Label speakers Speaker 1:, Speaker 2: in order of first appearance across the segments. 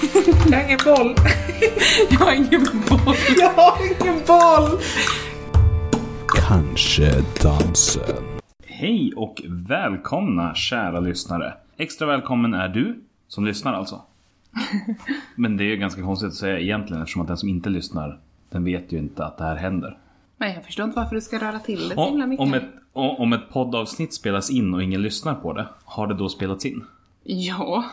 Speaker 1: Jag har ingen boll.
Speaker 2: Jag har ingen boll.
Speaker 1: Jag har ingen boll.
Speaker 3: Kanske dansen.
Speaker 4: Hej och välkomna kära lyssnare. Extra välkommen är du som lyssnar alltså. Men det är ganska konstigt att säga egentligen eftersom att den som inte lyssnar den vet ju inte att det här händer.
Speaker 2: Men jag förstår inte varför du ska röra till det så himla
Speaker 4: Om,
Speaker 2: mycket.
Speaker 4: om, ett, o- om ett poddavsnitt spelas in och ingen lyssnar på det, har det då spelats in?
Speaker 2: Ja.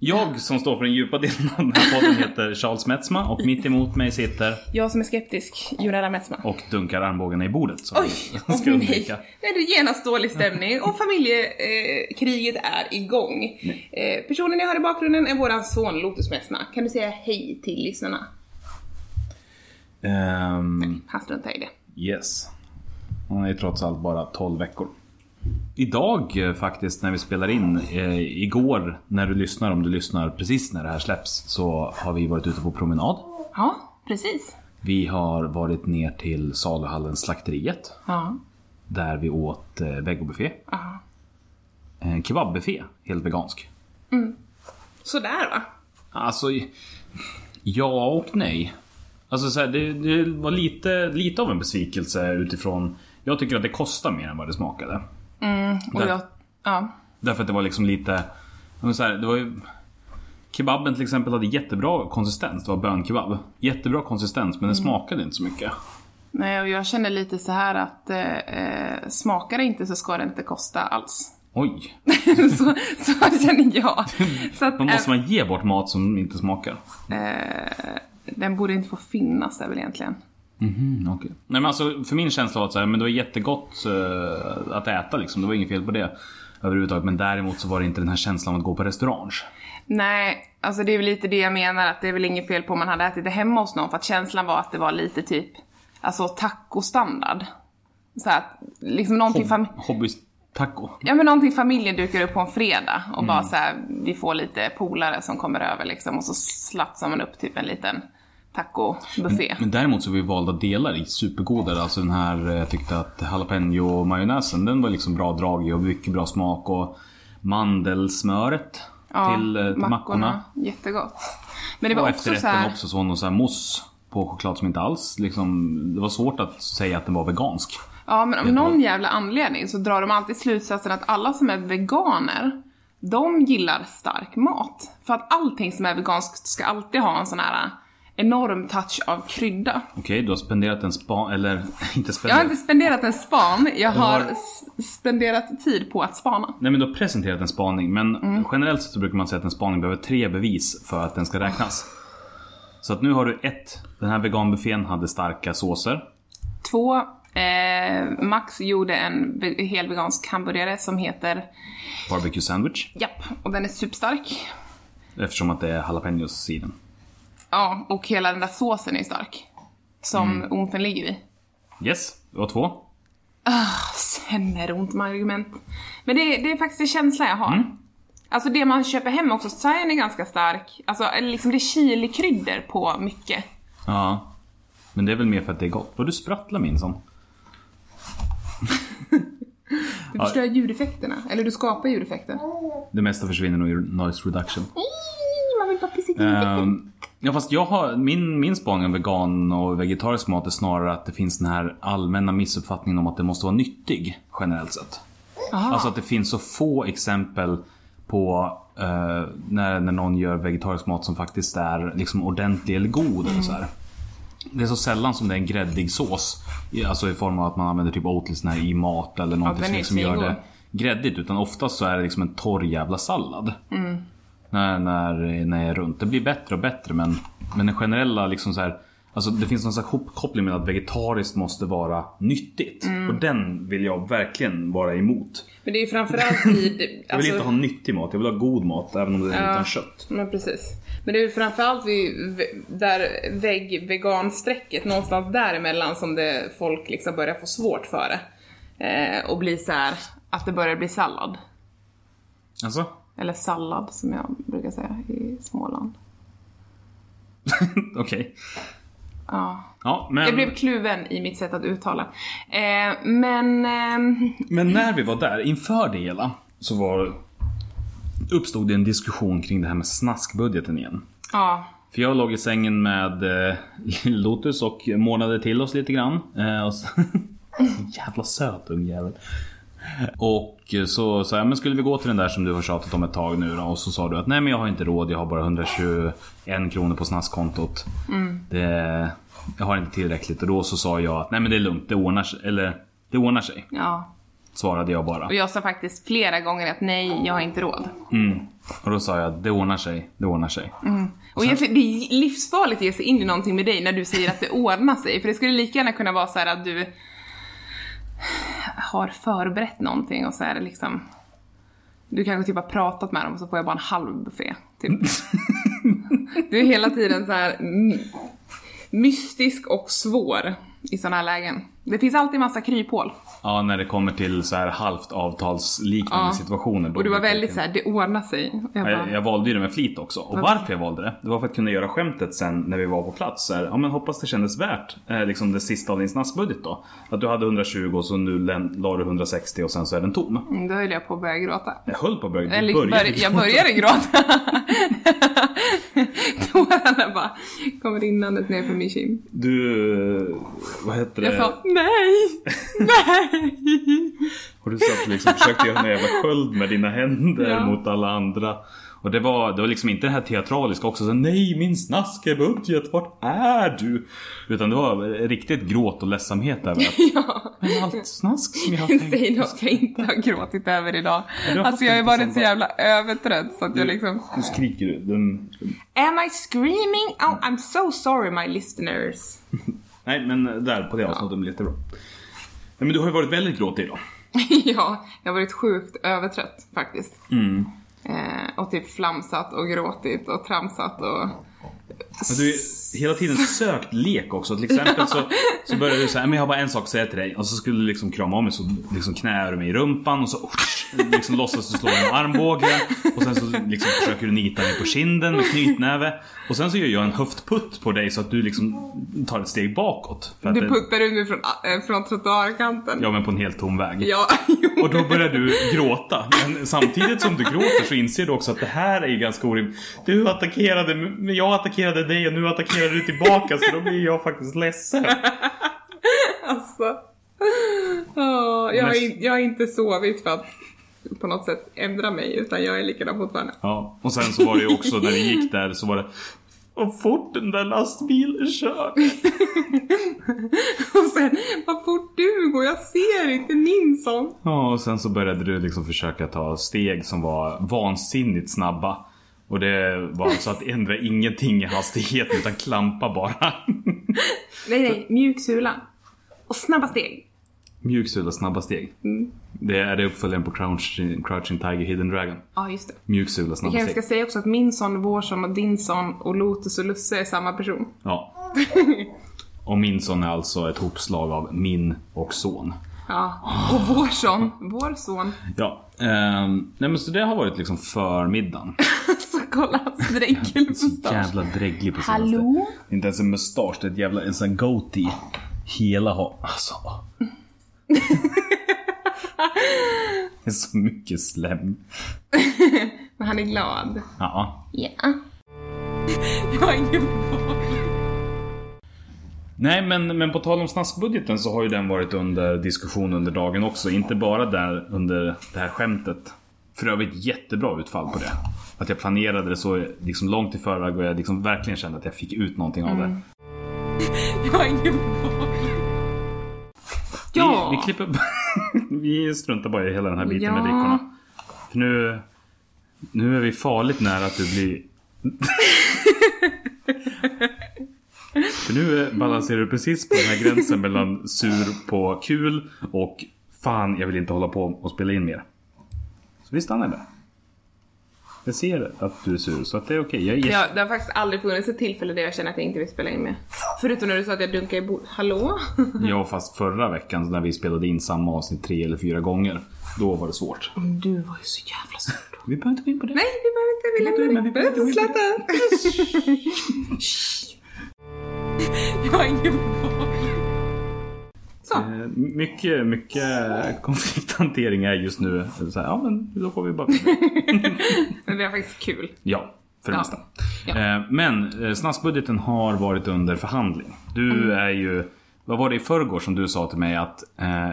Speaker 4: Jag som står för den djupa delen av den här podden heter Charles Metzma och mitt emot mig sitter
Speaker 2: Jag som är skeptisk, Jonella Metzma.
Speaker 4: och dunkar armbågarna i bordet som
Speaker 2: Oj,
Speaker 4: vi
Speaker 2: åh
Speaker 4: ska
Speaker 2: nej.
Speaker 4: undvika.
Speaker 2: Nu är det genast dålig stämning och familjekriget är igång. Eh, personen jag har i bakgrunden är våran son Lotus Metzma. Kan du säga hej till lyssnarna?
Speaker 4: Ehm,
Speaker 2: Han struntar i det.
Speaker 4: yes. Han är ju trots allt bara 12 veckor. Idag eh, faktiskt när vi spelar in, eh, igår när du lyssnar, om du lyssnar precis när det här släpps, så har vi varit ute på promenad.
Speaker 2: Ja, precis.
Speaker 4: Vi har varit ner till saluhallen Slakteriet
Speaker 2: Ja.
Speaker 4: där vi åt eh, vegobuffé.
Speaker 2: ja.
Speaker 4: En kebabbuffé, helt vegansk.
Speaker 2: Sådär va?
Speaker 4: Alltså, ja och nej. Alltså så här, det, det var lite, lite av en besvikelse utifrån... Jag tycker att det kostar mer än vad det smakade.
Speaker 2: Och
Speaker 4: Där-
Speaker 2: jag, ja.
Speaker 4: Därför att det var liksom lite... men Så här, det var ju, kebaben till exempel hade jättebra konsistens. Det var bönkebab. Jättebra konsistens men den smakade inte så mycket.
Speaker 2: Nej, och jag känner lite så här att eh, eh, smakar det inte så ska det inte kosta alls.
Speaker 4: Oj!
Speaker 2: så, så känner jag. Så att,
Speaker 4: Då måste
Speaker 2: eh,
Speaker 4: man ge bort mat som inte smakar.
Speaker 2: eh, Den borde inte få finnas där väl egentligen.
Speaker 4: Mm, okej. Nej men alltså för min känsla var att så här, men det var jättegott eh, att äta liksom. Det var inget fel på det överhuvudtaget. Men däremot så var det inte den här känslan av att gå på restaurang.
Speaker 2: Nej, alltså det är väl lite det jag menar att det är väl inget fel på om man hade ätit det hemma hos någon för att känslan var att det var lite typ, alltså tacostandard. Så här att, liksom någonting, fam-
Speaker 4: Hob- Hobbys taco.
Speaker 2: ja, men någonting familjen dukar upp på en fredag och bara
Speaker 4: Mm.
Speaker 2: så här, vi får lite polare som kommer över liksom och så slafsar man upp typ en liten tacobuffé.
Speaker 4: Men däremot så var ju valda delar i supergoda. Alltså den här, eh, jag tyckte att jalapeno-majonnäsen den var liksom bra drag i och mycket bra smak. Och mandelsmöret till, eh, till mackorna.
Speaker 2: Jättegott. Men det var
Speaker 4: Och
Speaker 2: också så
Speaker 4: efterrätten
Speaker 2: här,
Speaker 4: också så var det någon så här mousse på choklad som inte alls liksom, Det var svårt att säga att den var vegansk.
Speaker 2: Ja, men av någon jävla anledning så drar de alltid slutsatsen att alla som är veganer, de gillar stark mat. För att allting som är veganskt ska alltid ha en sån här äh, enorm touch av krydda.
Speaker 4: Okej, du har spenderat en spa... Eller inte
Speaker 2: Jag
Speaker 4: spenderat.
Speaker 2: har inte spenderat en span, jag har
Speaker 4: har-
Speaker 2: s- spenderat tid på att spana.
Speaker 4: Nej men du har presenterat en spaning. Men
Speaker 2: Mm.
Speaker 4: generellt sett så brukar man säga att en spaning behöver tre bevis för att den ska räknas. Så att nu har du ett. Den här veganbuffén hade starka såser.
Speaker 2: Två, eh, Max gjorde en ve- hel vegansk hamburgare som heter
Speaker 4: Barbecue sandwich.
Speaker 2: Japp, och den är superstark.
Speaker 4: Eftersom att det är jalapenos i den.
Speaker 2: Ja, och hela den där såsen är stark. Som onten ligger i.
Speaker 4: Yes, det var två.
Speaker 2: Sen är det ont med argument. Men det, det är faktiskt en känsla jag har.
Speaker 4: Mm.
Speaker 2: Alltså det man köper hem också, cyan är ganska stark. Alltså eller liksom det är chilikryddor på mycket.
Speaker 4: Ja. Men det är väl mer för att det är gott. Vad du sprattlar minsann.
Speaker 2: Du förstör ljudeffekterna, eller du skapar ljudeffekter.
Speaker 4: Det mesta försvinner nog ur noise reduction.
Speaker 2: Mm, Man vill bara pissa i um,
Speaker 4: Ehm, ja fast jag har, min, min spaning om vegan och vegetarisk mat är snarare att det finns den här allmänna missuppfattningen om att det måste vara nyttig generellt sett. Alltså att det finns så få exempel på eh, när, när någon gör vegetarisk mat som faktiskt är liksom ordentlig eller god. Eller så här. Det är så sällan som det är en gräddig sås. i- Alltså i form av att man använder typ Oatly sån här i mat eller någonting
Speaker 2: den är
Speaker 4: som liksom gör
Speaker 2: svingod.
Speaker 4: det gräddigt. Utan oftast så är det liksom en torr jävla sallad.
Speaker 2: Mm.
Speaker 4: När, när, när jag är runt. Det blir bättre och bättre men, men den generella liksom så här. Alltså det finns någon slags hopkoppling med att vegetariskt måste vara nyttigt.
Speaker 2: Mm.
Speaker 4: Och den vill jag verkligen vara emot.
Speaker 2: Men det är ju framförallt vid... alltså-
Speaker 4: Jag vill inte ha nyttig mat, jag vill ha god mat även om det är utan kött.
Speaker 2: Men precis. Men det är ju framförallt vid v- där vägg veganstrecket någonstans däremellan som det, folk liksom börjar få svårt för det. Eh, och bli så här att det börjar bli sallad.
Speaker 4: Alltså?
Speaker 2: Eller sallad som jag brukar säga i Småland.
Speaker 4: Okej.
Speaker 2: Ja.
Speaker 4: Ja, men,
Speaker 2: Jag blev kluven i mitt sätt att uttala. Eh, men... ehm,
Speaker 4: men när vi var där, inför det hela, så var, uppstod det en diskussion kring det här med snaskbudgeten igen.
Speaker 2: Ja.
Speaker 4: För jag låg i sängen med eh, Lotus och månade till oss lite grann. Eh, och så, jävla söt ungjävel. Och eh, så sa jag, men skulle vi gå till den där som du har tjatat om ett tag nu då? Och så sa du att nej men jag har inte råd, jag har bara 121 kronor på snaskkontot.
Speaker 2: Mm.
Speaker 4: Det, jag har inte tillräckligt. Och då så sa jag att nej men det är lugnt, det ordnar sig. Eller, det ordnar sig.
Speaker 2: ja.
Speaker 4: Svarade jag bara.
Speaker 2: Och jag sa faktiskt flera gånger att nej, jag har inte råd.
Speaker 4: Och då sa jag att det ordnar sig, det ordnar sig.
Speaker 2: Mm. Och egentligen, det är livsfarligt att ge sig in i någonting med dig när du säger att det ordnar sig. För det skulle lika gärna kunna vara så här att du har förberett någonting och så är det liksom... Du kanske typ har pratat med dem och så får jag bara en halv buffé. Typ. du är hela tiden så här mm, mystisk och svår i sådana här lägen. Det finns alltid massa kryphål.
Speaker 4: Ja, när det kommer till så här halvt avtalsliknande
Speaker 2: Ja.
Speaker 4: situationer. då
Speaker 2: Och du var
Speaker 4: brukar
Speaker 2: väldigt
Speaker 4: jag-
Speaker 2: så här, det ordnar sig. Och jag
Speaker 4: Ja, Jag,
Speaker 2: bara,
Speaker 4: jag valde ju det med flit också. Och varför jag valde det, det var för att kunna göra skämtet sen när vi var på plats. Så här, ja men hoppas det kändes värt, eh, liksom det sista av din snaskbudget då. Att du hade 120 och så nu län- la du 160 och sen så är den tom.
Speaker 2: mm, då höll jag på att börja gråta.
Speaker 4: Jag höll på att börja,
Speaker 2: Eller
Speaker 4: började
Speaker 2: bör, jag började gråta. Tårarna bara kommer rinnandes ner för min kind.
Speaker 4: Du, eh, vad heter det?
Speaker 2: Jag sa nej, nej.
Speaker 4: Och du satt liksom och försökte göra en jävla sköld med dina händer
Speaker 2: Ja.
Speaker 4: mot alla andra. Och det var, det var liksom inte det här teatraliska också, så nej min snaskebudget, vart är du? Utan det var riktigt gråt och ledsamhet över att
Speaker 2: Ja,
Speaker 4: men allt snask som jag har
Speaker 2: säg
Speaker 4: tänkt.
Speaker 2: något jag inte har gråtit över idag.
Speaker 4: du har
Speaker 2: Alltså jag har ju
Speaker 4: haft en
Speaker 2: varit så
Speaker 4: sån
Speaker 2: jävla övertrött så att jag liksom...
Speaker 4: Nu skriker du. Den...
Speaker 2: Am I screaming? Oh, I'm so sorry my listeners.
Speaker 4: Nej men där på det avsnittet blir jättebra. Nej, men du har ju varit väldigt gråtig idag.
Speaker 2: ja, jag har varit sjukt övertrött faktiskt.
Speaker 4: Mm.
Speaker 2: Eh, och typ flamsat och gråtit och tramsat och...
Speaker 4: Men du har ju hela tiden sökt lek också. Till exempel så, så började du säga men jag har bara en sak att säga till dig. Och så skulle du liksom krama om mig så liksom knäar du mig i rumpan och så liksom låtsas du slå mig med armbågen. Och sen så liksom försöker du nita mig på kinden med knytnäve. Och sen så gör jag en höftputt på dig så att du liksom tar ett steg bakåt. För att
Speaker 2: Du
Speaker 4: det-
Speaker 2: puttar ut mig från, eh, från trottoarkanten.
Speaker 4: Ja men på en helt tom väg.
Speaker 2: Ja, jo.
Speaker 4: Och då börjar du gråta. Men samtidigt som du gråter så inser du också att det här är ju ganska orimligt. Du attackerade mig, men jag attackerade dig och nu attackerar du tillbaka så då blir jag faktiskt ledsen.
Speaker 2: Alltså. Åh, jag, har
Speaker 4: Men-
Speaker 2: in, jag har inte sovit för att på något sätt ändra mig utan jag är likadan fortfarande.
Speaker 4: Ja, och sen så var det ju också när vi gick där så var det och fort den där lastbilen kör.
Speaker 2: Och sen, vad fort du går, jag ser inte Nilsson.
Speaker 4: Ja, och sen så började du liksom försöka ta steg som var vansinnigt snabba. Och det var så att ändra ingenting i hastigheten utan klampa bara.
Speaker 2: Nej, nej, mjuk sula. Och snabba steg.
Speaker 4: Mjuksula snabba steg.
Speaker 2: Mm.
Speaker 4: Det är det uppföljaren på Crouching, Crouching Tiger Hidden Dragon.
Speaker 2: Ja, just det.
Speaker 4: Mjuksula
Speaker 2: Vi
Speaker 4: snabba
Speaker 2: kanske ska
Speaker 4: steg.
Speaker 2: säga också att min son, vår son och din son och Lotus och Lusse är samma person.
Speaker 4: Ja. Och min son är alltså ett hopslag av min och son.
Speaker 2: Ja. Och vår son, vår son.
Speaker 4: Ja. ehm, nej men så det har varit liksom förmiddagen.
Speaker 2: Så kolla hans dräckelmustasch.
Speaker 4: Jävla dräglig på senaste.
Speaker 2: Hallå?
Speaker 4: Det är Inte ens en mustasch, det är ett jävla, en sån goatee. Hela ha... Alltså. det är så mycket slem.
Speaker 2: Men han är glad.
Speaker 4: Ja.
Speaker 2: Ja. Jag har ingen boll.
Speaker 4: Nej men, men på tal om snaskbudgeten så har ju den varit under diskussion under dagen också. Inte bara där under det här skämtet. För övrigt jättebra utfall på det. Att jag planerade det så liksom långt i förväg och jag liksom verkligen kände att jag fick ut någonting av det.
Speaker 2: Jag har ingen boll. Ja.
Speaker 4: Vi, vi klipper... vi struntar bara i hela den här biten med
Speaker 2: Ja.
Speaker 4: drickorna. För nu... Nu är vi farligt nära att du blir... För nu balanserar du precis på den här gränsen mellan sur på kul och fan jag vill inte hålla på och spela in mer. Så vi stannar där. Jag ser att du är sur så att det är okej. Jag är jätte-
Speaker 2: Ja, det har faktiskt aldrig funnits ett tillfälle där jag känner att jag inte vill spela in med. Förutom när du sa att jag dunkar i bordet. Hallå?
Speaker 4: Ja fast förra veckan när vi spelade in samma avsnitt tre eller fyra gånger. Då var det svårt.
Speaker 2: Du var ju så jävla sur då.
Speaker 4: Vi behöver inte gå in på det.
Speaker 2: Nej, vi behöver inte. Vi lämnar det.
Speaker 4: men vi
Speaker 2: Vi behöver inte
Speaker 4: behöver
Speaker 2: släta. Jag har ingen boll. Så.
Speaker 4: Eh, Mycket, mycket konflikthantering är just nu så här, ja men då får vi bara
Speaker 2: Men vi har faktiskt kul.
Speaker 4: Ja, för det
Speaker 2: Ja.
Speaker 4: mesta.
Speaker 2: Ja.
Speaker 4: Eh, Men eh, snaskbudgeten har varit under förhandling. Du
Speaker 2: Mm.
Speaker 4: är ju... Vad var det i förrgår som du sa till mig att eh,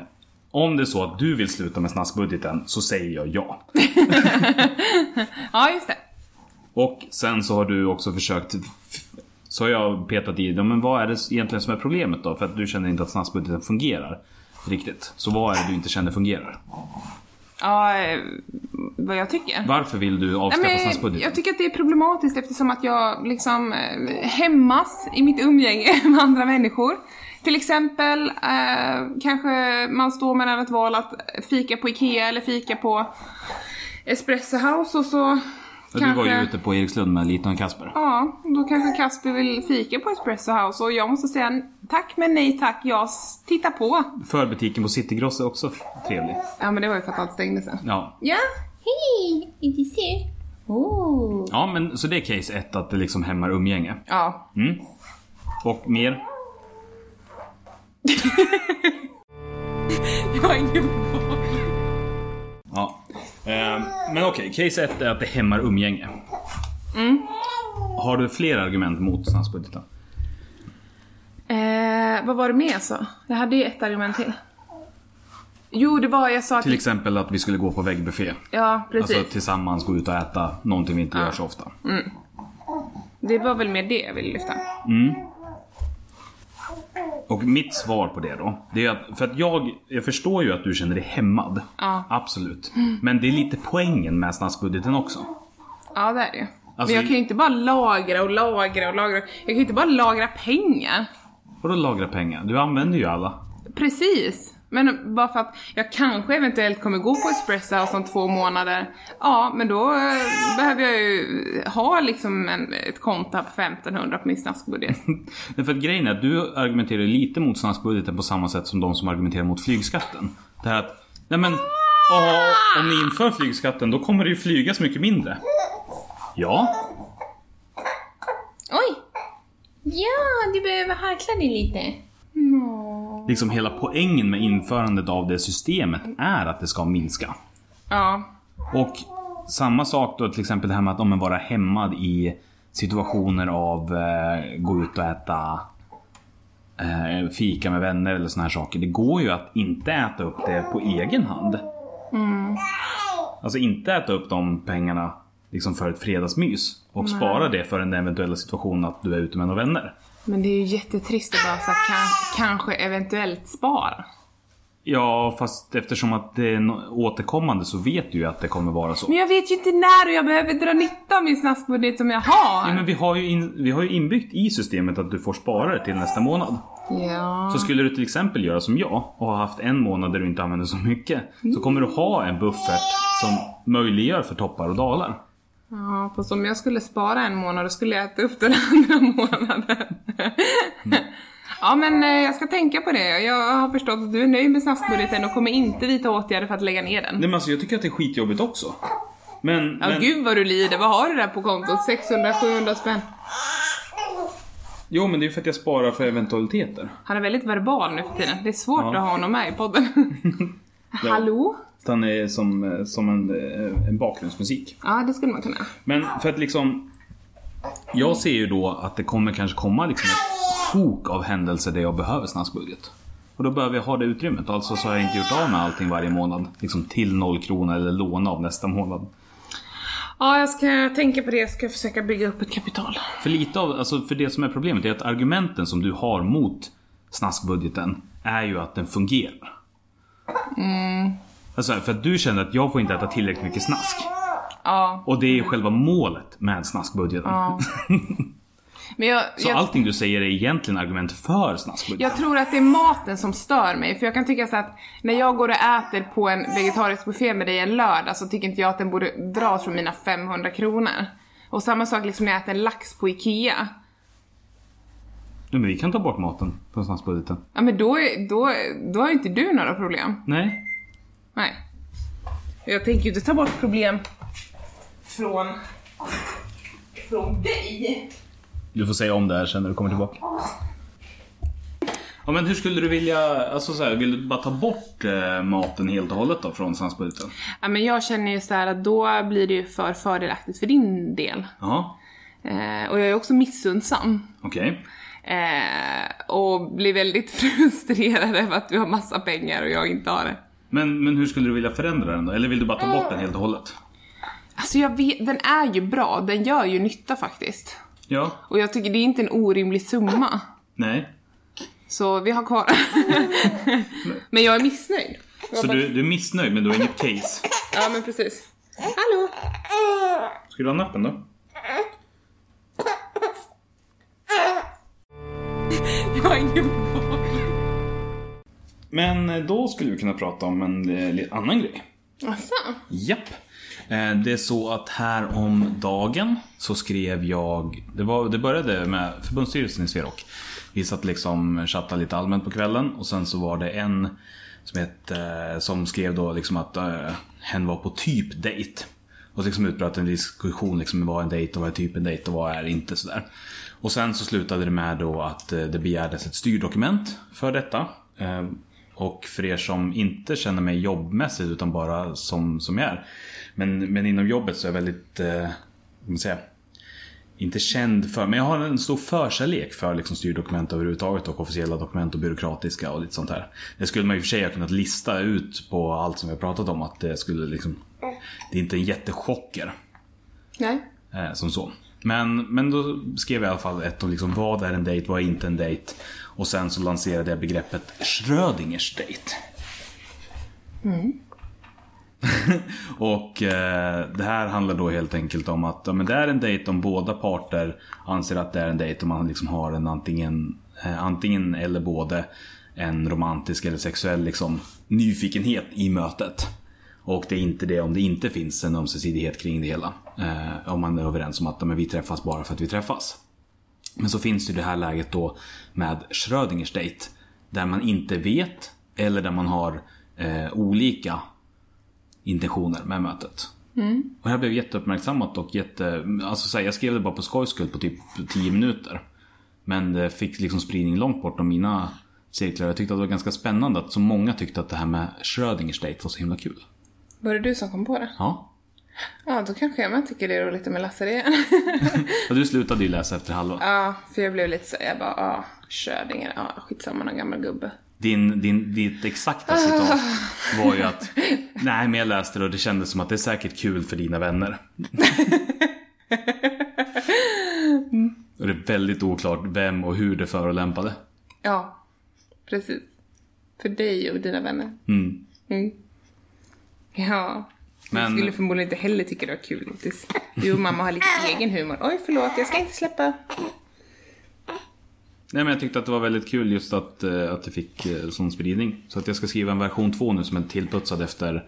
Speaker 4: om det är så att du vill sluta med snaskbudgeten så säger jag ja.
Speaker 2: Ja, just det.
Speaker 4: Och sen så har du också försökt... Så har jag petat i, ja, men vad är det egentligen som är problemet då? För att du känner inte att snaskbudgeten fungerar riktigt. Så vad är det du inte känner fungerar?
Speaker 2: Ja, eh, vad jag tycker.
Speaker 4: Varför vill du avskaffa
Speaker 2: Nej, men,
Speaker 4: snaskbudgeten?
Speaker 2: jag tycker att det är problematiskt eftersom att jag liksom eh, hämmas i mitt umgänge med andra människor. Till exempel eh, kanske man står mellan ett val att fika på IKEA eller fika på Espresso House och så
Speaker 4: Ja, Du
Speaker 2: kanske...
Speaker 4: var ju ute på Erikslund med Liten och Kasper.
Speaker 2: Ja, då kanske Kasper vill fika på Espresso House och jag måste säga tack men nej tack, jag s- tittar på.
Speaker 4: Förbutiken på Citygross är också f- trevlig.
Speaker 2: Ja men det var ju för att allt stängdes sen.
Speaker 4: Ja.
Speaker 2: Ja,
Speaker 3: Hej! Är du sur? Oh.
Speaker 4: ja, men så det är case ett att det liksom hämmar umgänge.
Speaker 2: ja.
Speaker 4: Mm. Och mer?
Speaker 2: Jag har ingen val.
Speaker 4: Ja. Ehm, men okej, case ett är att det hämmar umgänge.
Speaker 2: Mm.
Speaker 4: Har du fler argument mot statsbudgeten?
Speaker 2: Eh, vad var det mer så? Jag hade ju ett argument till. Jo, det var jag sa att...
Speaker 4: Till exempel att vi skulle gå på väggbuffé.
Speaker 2: Ja, precis.
Speaker 4: Alltså tillsammans gå ut och äta någonting vi inte gör så ofta.
Speaker 2: Det var väl mer det jag ville lyfta.
Speaker 4: Och mitt svar på det då, det är att, för att jag, jag förstår ju att du känner dig hämmad.
Speaker 2: Ja.
Speaker 4: Absolut. Men det är lite poängen med statsbudgeten också.
Speaker 2: Ja, det är det ju.
Speaker 4: Alltså,
Speaker 2: Men jag kan ju inte bara lagra och lagra och lagra. Jag kan ju inte bara lagra pengar.
Speaker 4: Vadå lagra pengar? Du använder ju alla.
Speaker 2: Precis. Men bara för att jag kanske eventuellt kommer gå på Espresso House om två månader. Ja, men då eh, behöver jag ju ha liksom en, ett konto på 1500 på min snaskbudget.
Speaker 4: Därför att grejen är att du argumenterar lite mot statsbudgeten på samma sätt som de som argumenterar mot flygskatten. Det här att, nej men, åh, om ni inför flygskatten då kommer det ju flygas mycket mindre. Ja,
Speaker 3: Oj! Ja, du behöver harkla dig lite.
Speaker 4: liksom hela poängen med införandet av det systemet är att det ska minska.
Speaker 2: Ja,
Speaker 4: Och samma sak då till exempel det här med att om man vara hämmad i situationer av eh, gå ut och äta eh, fika med vänner eller såna här saker. Det går ju att inte äta upp det på egen hand. Alltså inte äta upp de pengarna liksom för ett fredagsmys och spara det för den eventuella situationen att du är ute med några vänner.
Speaker 2: men det är ju jättetrist att bara så här, kan, kanske eventuellt spara.
Speaker 4: Ja, fast eftersom att det är nå- återkommande så vet du ju att det kommer vara så.
Speaker 2: Men jag vet ju inte när och jag behöver dra nytta av min snaskbudget som jag har.
Speaker 4: Ja, men vi har, ju in, vi har ju inbyggt i systemet att du får spara det till nästa månad.
Speaker 2: Ja.
Speaker 4: Så skulle du till exempel göra som jag och ha haft en månad där du inte använder så mycket. Så kommer du ha en buffert som möjliggör för toppar och dalar.
Speaker 2: ja, fast om jag skulle spara en månad då skulle jag äta upp den andra månaden.
Speaker 4: Mm.
Speaker 2: ja, men eh, jag ska tänka på det. Jag har förstått att du är nöjd med snaskbudgeten och kommer inte vidta åtgärder för att lägga ner den.
Speaker 4: Nej men alltså jag tycker att det är skitjobbigt också. Men,
Speaker 2: Ja,
Speaker 4: men
Speaker 2: gud vad du lider. Vad har du där på kontot? 600-700 spänn?
Speaker 4: jo men det är ju för att jag sparar för eventualiteter.
Speaker 2: Han är väldigt verbal nu för tiden. Det är svårt
Speaker 4: Ja.
Speaker 2: att ha honom med i podden.
Speaker 4: Ja.
Speaker 2: Hallå?
Speaker 4: Så han är som, eh, som en, eh, en bakgrundsmusik.
Speaker 2: Ja, det skulle man kunna.
Speaker 4: Men för att liksom jag ser ju då att det kommer kanske komma liksom ett sjok av händelser där jag behöver snabbsbudget. Och då behöver jag ha det utrymmet. Alltså så har jag inte gjort av med allting varje månad. Liksom till noll kronor eller låna av nästa månad.
Speaker 2: Ja, jag ska tänka på det. Jag ska försöka bygga upp ett kapital.
Speaker 4: För lite av, alltså för det som är problemet är att argumenten som du har mot snaskbudgeten är ju att den fungerar. Alltså för att du känner att jag får inte äta tillräckligt mycket snask.
Speaker 2: Ja.
Speaker 4: Och det är ju själva målet med snaskbudgeten.
Speaker 2: Ja. Men jag,
Speaker 4: Så
Speaker 2: jag,
Speaker 4: allting du säger är egentligen argument för snaskbudgeten.
Speaker 2: jag tror att det är maten som stör mig, för jag kan tycka så att när jag går och äter på en vegetarisk buffé med dig en lördag så tycker inte jag att den borde dras från mina 500 kronor. Och samma sak liksom när jag äter lax på IKEA.
Speaker 4: Nej, men vi kan ta bort maten från snaskbudgeten.
Speaker 2: Ja men då, är- då, då har ju inte du några problem.
Speaker 4: Nej.
Speaker 2: Nej. Jag tänker ju inte ta bort problem från, från dig.
Speaker 4: Du får säga om det här sen när du kommer tillbaka. Ja, men hur skulle du vilja, alltså så här, vill du bara ta bort eh, maten helt och hållet då från snaskbudgeten?
Speaker 2: Ja men jag känner ju så här att då blir det ju för fördelaktigt för din del.
Speaker 4: Ja.
Speaker 2: Eh, och jag är också missundsam.
Speaker 4: Okej.
Speaker 2: Eh, och blir väldigt frustrerad över att du har massa pengar och jag inte har det.
Speaker 4: Men, men hur skulle du vilja förändra den då? Eller vill du bara ta bort den helt och hållet?
Speaker 2: Alltså jag vet, den är ju bra, den gör ju nytta faktiskt.
Speaker 4: Ja.
Speaker 2: Och jag tycker det är inte en orimlig summa.
Speaker 4: Nej.
Speaker 2: Så vi har kvar Men jag är missnöjd.
Speaker 4: Så du, du är missnöjd men du har inget case.
Speaker 2: Ja men precis. Hallå!
Speaker 4: Ska du ha nappen då?
Speaker 2: Jag har ingen boll.
Speaker 4: Men eh, då skulle vi kunna prata om en eh, li- annan grej.
Speaker 2: Asså?
Speaker 4: Japp. Eh, Det är så att här om dagen så skrev jag, det, var, det började med förbundsstyrelsen i Sverok. Vi satt liksom chattade lite allmänt på kvällen och sen så var det en som, hette, eh, som skrev då liksom att eh, hen var på typ dejt. Och så liksom utbröt en diskussion liksom vad är en dejt och vad är typ en dejt och vad är inte sådär. Och sen så slutade det med då att eh, det begärdes ett styrdokument för detta. Eh, och för er som inte känner mig jobbmässigt utan bara som, som jag är. Men, men inom jobbet så är jag väldigt, eh, vad ska man säga, inte känd för, men jag har en stor förkärlek för liksom styrdokument överhuvudtaget och officiella dokument och byråkratiska och lite sånt här. Det skulle man i och för sig ha kunnat lista ut på allt som vi har pratat om att det skulle liksom, det är inte en jättechocker.
Speaker 2: Nej.
Speaker 4: Eh, som så. Men, men då skrev jag i alla fall ett om liksom, vad är en dejt, vad är inte en dejt? Och sen så lanserade jag begreppet Schrödingers dejt. och eh, det här handlar då helt enkelt om att ja, men det är en dejt om båda parter anser att det är en dejt om man liksom har en antingen, eh, antingen eller både en romantisk eller sexuell liksom, nyfikenhet i mötet. Och det är inte det om det inte finns en ömsesidighet kring det hela. Eh, om man är överens om att ja, men vi träffas bara för att vi träffas. Men så finns det ju det här läget då med Schrödingers dejt. Där man inte vet eller där man har eh, olika intentioner med mötet. Och jag blev jätteuppmärksammat och jätte... Alltså så här, jag skrev det bara på skojs skull på typ 10 minuter. Men det fick liksom spridning långt bortom mina cirklar. Jag tyckte att det var ganska spännande att så många tyckte att det här med Schrödingers dejt var så himla kul.
Speaker 2: Var det du som kom på det?
Speaker 4: Ja.
Speaker 2: Ja, då kanske jag med tycker det är roligt med Lasse igen.
Speaker 4: Och du slutade ju läsa efter halva.
Speaker 2: ja, för jag blev lite så jag bara, ja, Schrödinger, ja, skitsamma någon gammal gubbe.
Speaker 4: Din, din, ditt exakta citat var ju att Nej men jag läste det och det kändes som att det är säkert kul för dina vänner. och det är väldigt oklart vem och hur det förolämpade.
Speaker 2: Ja, precis. För dig och dina vänner.
Speaker 4: Mm.
Speaker 2: Mm. Ja. Men...
Speaker 4: Men-
Speaker 2: Du skulle förmodligen inte heller tycka det var kul Otis. Du och mamma har lite egen humor. Oj, förlåt, jag ska inte släppa.
Speaker 4: Nej men jag tyckte att det var väldigt kul just att, eh, att det fick eh, sån spridning. Så att jag ska skriva en version 2 nu som är tillputsad efter,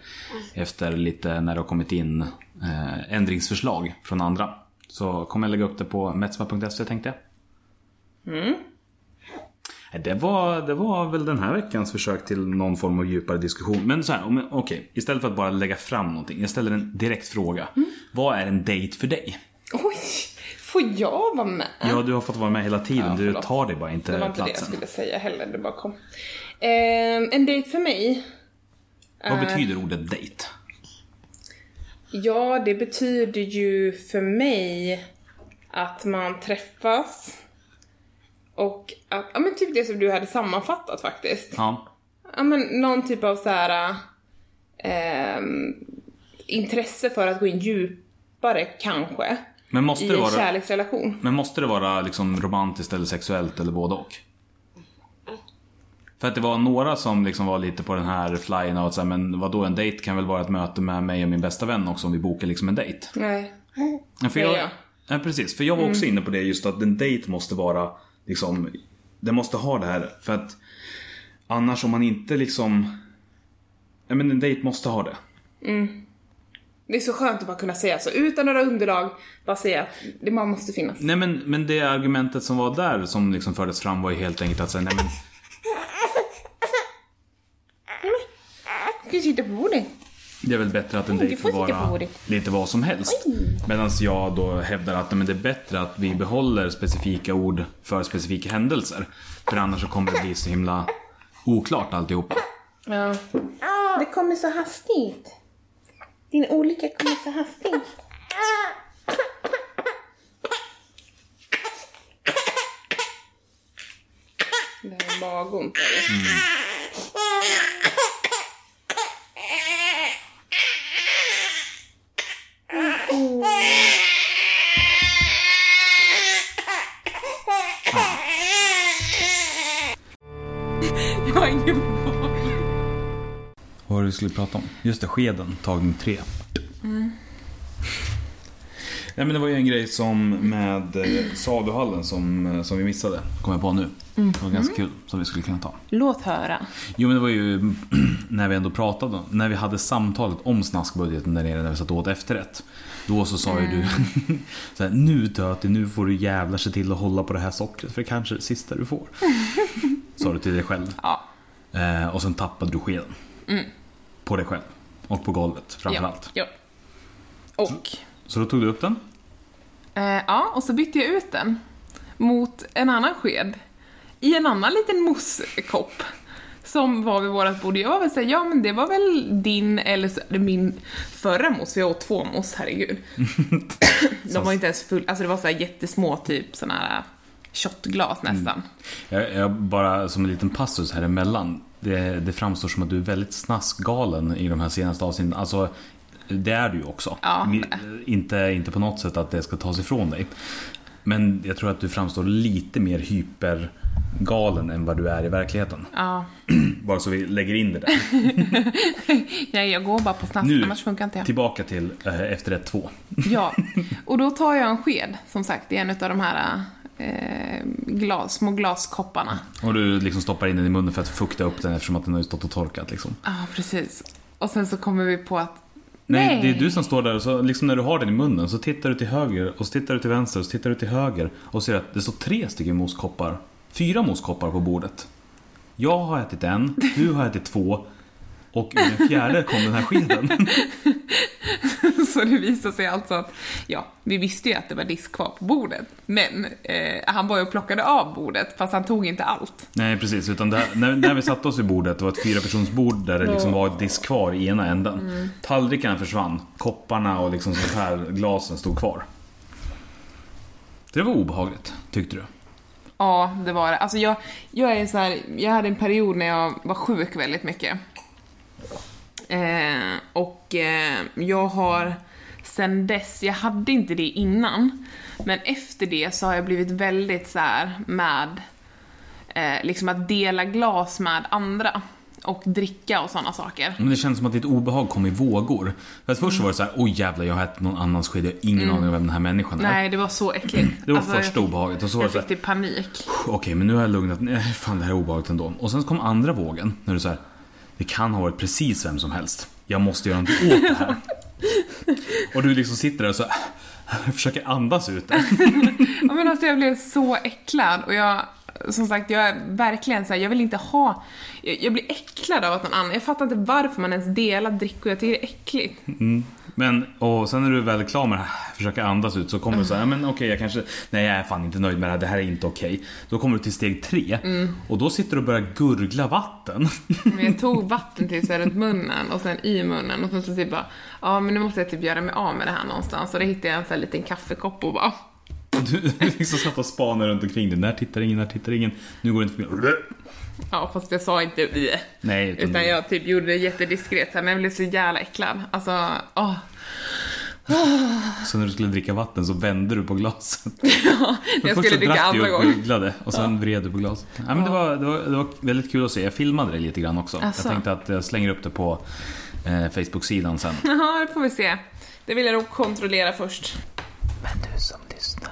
Speaker 4: efter lite när det har kommit in eh, ändringsförslag från andra. Så kommer jag lägga upp det på metsma.se tänkte jag.
Speaker 2: Mm.
Speaker 4: Nej, Det var, det var väl den här veckans försök till någon form av djupare diskussion. Men så här, om- okej. istället för att bara lägga fram någonting. Jag ställer en direkt fråga.
Speaker 2: Mm.
Speaker 4: Vad är en dejt för dig?
Speaker 2: Oj, får jag vara med?
Speaker 4: Ja, du har fått vara med hela tiden. du
Speaker 2: Mm. förlåt.
Speaker 4: tar dig bara inte
Speaker 2: Det var inte det jag
Speaker 4: platsen.
Speaker 2: skulle säga heller, det bara kom. Ehm, en dejt för mig? Eh,
Speaker 4: Vad betyder ordet dejt?
Speaker 2: Ja, det betyder ju för mig att man träffas och att, ja men typ det som du hade sammanfattat faktiskt.
Speaker 4: Ja.
Speaker 2: ja, men någon typ av så här ehm, intresse för att gå in djupare kanske
Speaker 4: Men måste
Speaker 2: i
Speaker 4: det
Speaker 2: en
Speaker 4: vara,
Speaker 2: kärleksrelation.
Speaker 4: men måste det vara liksom romantiskt eller sexuellt eller både och? För att det var några som liksom var lite på den här flyen och så här, men vadå en dejt kan väl vara ett möte med mig och min bästa vän också om vi bokar liksom en dejt.
Speaker 2: Nej.
Speaker 4: Ja, för
Speaker 2: Ja,
Speaker 4: jag,
Speaker 2: ja. Mm.
Speaker 4: ja, precis. För jag var också inne på det just att en dejt måste vara liksom, den måste ha det här för att annars om man inte liksom, ja men en dejt måste ha det.
Speaker 2: Det är så skönt att bara kunna säga så utan några underlag, bara säga att det man måste finnas.
Speaker 4: Nej men, men det argumentet som var där som liksom fördes fram var ju helt enkelt att säga, nej men
Speaker 2: Du sitter på bordet.
Speaker 4: Det är väl bättre att en
Speaker 2: Mm, du
Speaker 4: dejt
Speaker 2: får
Speaker 4: får
Speaker 2: sitta på
Speaker 4: vara
Speaker 2: bordet.
Speaker 4: lite vad som helst. Medan jag då hävdar att nej, men det är bättre att vi behåller specifika ord för specifika händelser. För annars så kommer det bli så himla oklart alltihopa.
Speaker 2: Ja.
Speaker 3: Det kommer så hastigt.
Speaker 2: Din olycka kommer så hastigt. Det är magont. Jag har ingen boll.
Speaker 4: Vad var det vi skulle prata om? Just det, skeden, tagning tre.
Speaker 2: Mm.
Speaker 4: Nej, men det var ju en grej som med eh, saluhallen som, eh, som vi missade. Kom jag på nu.
Speaker 2: Mm.
Speaker 4: Det var ganska kul som vi skulle kunna ta.
Speaker 2: Låt höra.
Speaker 4: Jo men det var ju när vi ändå pratade, när vi hade samtalet om snaskbudgeten där nere när vi satt och åt efterrätt. Då så sa ju du
Speaker 2: Mm.
Speaker 4: så här, nu Töti, nu får du jävlar se till att hålla på det här sockret för det kanske är det sista du får. sa du till dig själv.
Speaker 2: Ja. Mm.
Speaker 4: Eh, och sen tappade du skeden. På dig själv. Och på golvet framförallt.
Speaker 2: Ja. ja. Och.
Speaker 4: Så då tog du upp den.
Speaker 2: Eh, ja, och så bytte jag ut den mot en annan sked i en annan liten mosskopp som var vid vårat bord. Jag var väl såhär, ja men det var väl din eller så, eller min förra mos, vi åt två mos, herregud. De var inte ens full, alltså det var såhär jättesmå typ såna här shotglas
Speaker 4: Mm.
Speaker 2: nästan.
Speaker 4: Jag, jag bara som en liten passus här emellan. Det, det framstår som att du är väldigt snaskgalen i de här senaste avsnitten. Alltså, det är du ju också.
Speaker 2: Ja,
Speaker 4: Ni- inte, inte på något sätt att det ska tas ifrån dig. Men jag tror att du framstår lite mer hypergalen än vad du är i verkligheten.
Speaker 2: Ja,
Speaker 4: Bara så vi lägger in det där.
Speaker 2: nej jag går bara på snask,
Speaker 4: Nu,
Speaker 2: annars funkar inte jag.
Speaker 4: tillbaka till eh, efterrätt två.
Speaker 2: Ja, och då tar jag en sked, som sagt, i en av de här eh, glas, små glaskopparna.
Speaker 4: Och du liksom stoppar in den i munnen för att fukta upp den eftersom att den har ju stått och torkat liksom.
Speaker 2: Ja, precis. Och sen så kommer vi på att
Speaker 4: Nej,
Speaker 2: Nej.
Speaker 4: det är du som står där och så, liksom när du har den i munnen så tittar du till höger och så tittar du till vänster och så tittar du till höger och ser att det står tre stycken moskoppar. Fyra moskoppar på bordet. Jag har ätit en, du har ätit två och ur den fjärde kom den här skeden.
Speaker 2: så det visar sig alltså att, ja, vi visste ju att det var disk kvar på bordet. Men eh, han var ju och plockade av bordet, fast han tog inte allt.
Speaker 4: Nej precis, utan det här, när, när vi satte oss vid bordet, det var ett fyrapersonsbord där det liksom var ett disk kvar i ena änden. Tallrikarna försvann, kopparna och liksom sånt här glasen stod kvar. Det var obehagligt, tyckte du?
Speaker 2: Ja, det var det. Alltså jag, jag är så här, jag hade en period när jag var sjuk väldigt mycket. Eh, och eh, jag har sen dess, jag hade inte det innan, men efter det så har jag blivit väldigt så här med eh, liksom att dela glas med andra och dricka och sådana saker.
Speaker 4: Men det känns som att ditt obehag kom i vågor. För att först var det så här, oj jävlar jag har ätit någon annans sked, jag har ingen aning om vem den här människan är.
Speaker 2: Mm. Nej, det var så äckligt.
Speaker 4: Det var
Speaker 2: Alltså,
Speaker 4: första
Speaker 2: jag,
Speaker 4: obehaget och så var det
Speaker 2: jag
Speaker 4: så
Speaker 2: fick
Speaker 4: här,
Speaker 2: typ panik.
Speaker 4: okej men nu har jag lugnat nej fan det här är obehagligt ändå. Och sen kom andra vågen, när du så här, det kan ha varit precis vem som helst. Jag måste göra något åt det här. och du liksom sitter där och så här, försöker andas ut det.
Speaker 2: Ja, men alltså, jag blev så äcklad och jag, som sagt, jag är verkligen så här, jag vill inte ha... Jag, jag blir äcklad av att någon annan... Jag fattar inte varför man ens delar drickor, jag tycker det är äckligt.
Speaker 4: Men, och sen när du väl är klar med det här, försöker andas ut så kommer du så här, men okej jag kanske, nej jag är fan inte nöjd med det här, det här är inte okej. Då kommer du till steg tre
Speaker 2: Mm.
Speaker 4: och då sitter du och börjar gurgla vatten.
Speaker 2: Men jag tog vatten till så här runt munnen och sen i munnen och sen så typ bara, ja men nu måste jag typ göra mig av med det här någonstans. Och då hittade jag en sån här liten kaffekopp och bara,
Speaker 4: Och du liksom satt och spanade runt omkring dig, när tittar ingen, när tittar ingen, nu går det inte förbi.
Speaker 2: ja fast jag sa inte vi.
Speaker 4: Nej, utan,
Speaker 2: Utan jag typ gjorde det jättediskret så här, men jag blev så jävla äcklad. Alltså, åh.
Speaker 4: Så när du skulle dricka vatten så vände du på glaset.
Speaker 2: Jag
Speaker 4: Först
Speaker 2: skulle
Speaker 4: så
Speaker 2: dricka
Speaker 4: drack du
Speaker 2: andra
Speaker 4: och
Speaker 2: gången.
Speaker 4: gurglade och sen vred du på glaset. Ja, men det, var, det, var, det var väldigt kul att se, jag filmade det lite grann också.
Speaker 2: Asså.
Speaker 4: Jag tänkte att jag slänger upp det på eh, Facebook-sidan sen.
Speaker 2: Jaha, det får vi se. Det vill jag nog kontrollera först.
Speaker 5: Men du som lyssnar,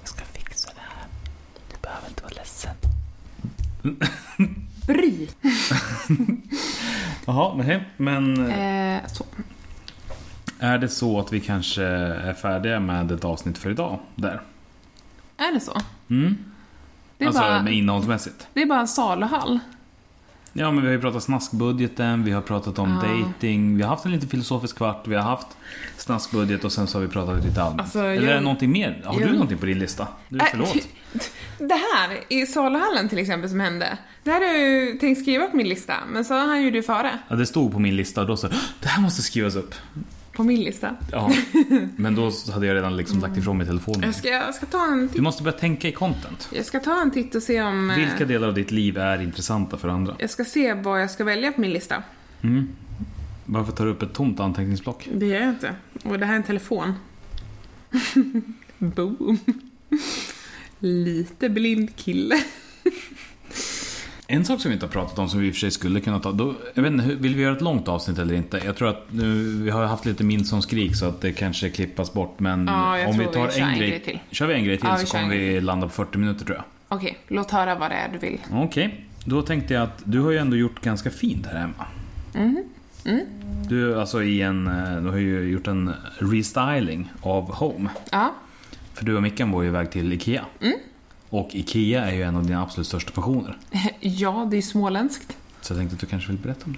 Speaker 5: jag ska fixa det här. Du behöver inte vara ledsen.
Speaker 2: Bry.
Speaker 4: Jaha, nej, men...
Speaker 2: Eh, så.
Speaker 4: Är det så att vi kanske är färdiga med ett avsnitt för idag? Där.
Speaker 2: Är det så?
Speaker 4: Mm.
Speaker 2: Det är,
Speaker 4: alltså
Speaker 2: bara,
Speaker 4: med innehållsmässigt.
Speaker 2: det är bara en saluhall.
Speaker 4: Ja, men vi har ju pratat snaskbudgeten, vi har pratat om dating, vi har haft en lite filosofisk kvart, vi har haft snaskbudget och sen så har vi pratat lite allmänt.
Speaker 2: Alltså,
Speaker 4: Eller
Speaker 2: jag-
Speaker 4: är det någonting mer? Har du
Speaker 2: jag-
Speaker 4: någonting på din lista? Du, förlåt.
Speaker 2: Äh, Det här i saluhallen till exempel som hände. Det här har jag ju tänkt skriva på min lista, men så har ju du före.
Speaker 4: Ja, det stod på min lista och då så det här måste skrivas upp.
Speaker 2: på min lista.
Speaker 4: Ja. Men då hade jag redan liksom lagt ifrån mig telefonen.
Speaker 2: Jag ska, jag ska ta en
Speaker 4: Du
Speaker 2: titt.
Speaker 4: måste börja tänka i content.
Speaker 2: Jag ska ta en titt och se om... eh,
Speaker 4: Vilka delar av ditt liv är intressanta för andra? Mm.
Speaker 2: Jag ska se vad jag ska välja på min lista.
Speaker 4: Varför tar du upp ett tomt anteckningsblock?
Speaker 2: Det gör jag inte. Och det här är en telefon. Boom. Lite blind kille.
Speaker 4: En sak som vi inte har pratat om som vi i och för sig skulle kunna ta. Då, jag vet inte, hur- vill vi göra ett långt avsnitt eller inte? Jag tror att nu, vi har haft lite min som skrik så att det kanske klippas bort. Men
Speaker 2: Ja, jag
Speaker 4: om vi
Speaker 2: tror vi
Speaker 4: tar
Speaker 2: kör
Speaker 4: en,
Speaker 2: en
Speaker 4: grej,
Speaker 2: grej till.
Speaker 4: Kör vi en grej till
Speaker 2: Ja, vi
Speaker 4: så
Speaker 2: kör
Speaker 4: kommer
Speaker 2: en grej
Speaker 4: vi landa på 40 minuter tror jag.
Speaker 2: Okej, låt höra vad det är du vill.
Speaker 4: Okej, då tänkte jag att du har ju ändå gjort ganska fint här hemma.
Speaker 2: Mm-hmm. Mm.
Speaker 4: Du, alltså i en, eh, du har ju gjort en restyling av Home.
Speaker 2: Ja,
Speaker 4: För du och Mickan var ju iväg till IKEA.
Speaker 2: Mm.
Speaker 4: Och IKEA är ju en av dina absolut största passioner.
Speaker 2: ja det är småländskt.
Speaker 4: Så jag tänkte att du kanske vill berätta om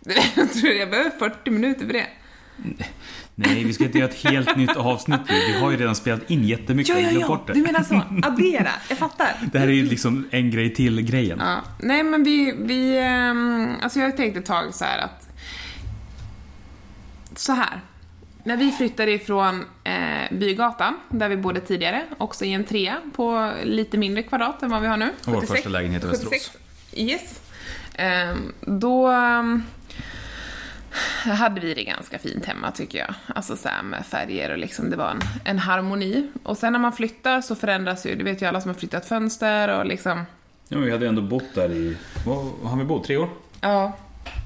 Speaker 4: det.
Speaker 2: Jag tror jag behöver 40 minuter för det.
Speaker 4: Nej, vi ska inte göra ett helt nytt avsnitt nu. Vi har ju redan spelat in jättemycket.
Speaker 2: Ja,
Speaker 4: och
Speaker 2: ja,
Speaker 4: glömt
Speaker 2: ja,
Speaker 4: bort
Speaker 2: du
Speaker 4: det.
Speaker 2: menar så. Addera, jag fattar.
Speaker 4: det här är ju liksom en grej till-grejen.
Speaker 2: Ja, nej men vi, vi ehm, alltså jag tänkte ett tag så här att, så här. När vi flyttade ifrån eh, Bygatan, där vi bodde tidigare, också i en trea på lite mindre kvadrat än vad vi har nu.
Speaker 4: Och vår första lägenhet i Västerås.
Speaker 2: 76. Yes. Ehm, då ehm, hade vi det ganska fint hemma tycker jag. Alltså så här med färger och liksom det var en, en harmoni. Och sen när man flyttar så förändras ju, det vet ju alla som har flyttat fönster och liksom
Speaker 4: Ja, men vi hade ju ändå bott där i, vad vad har vi bott? Tre år?
Speaker 2: Ja.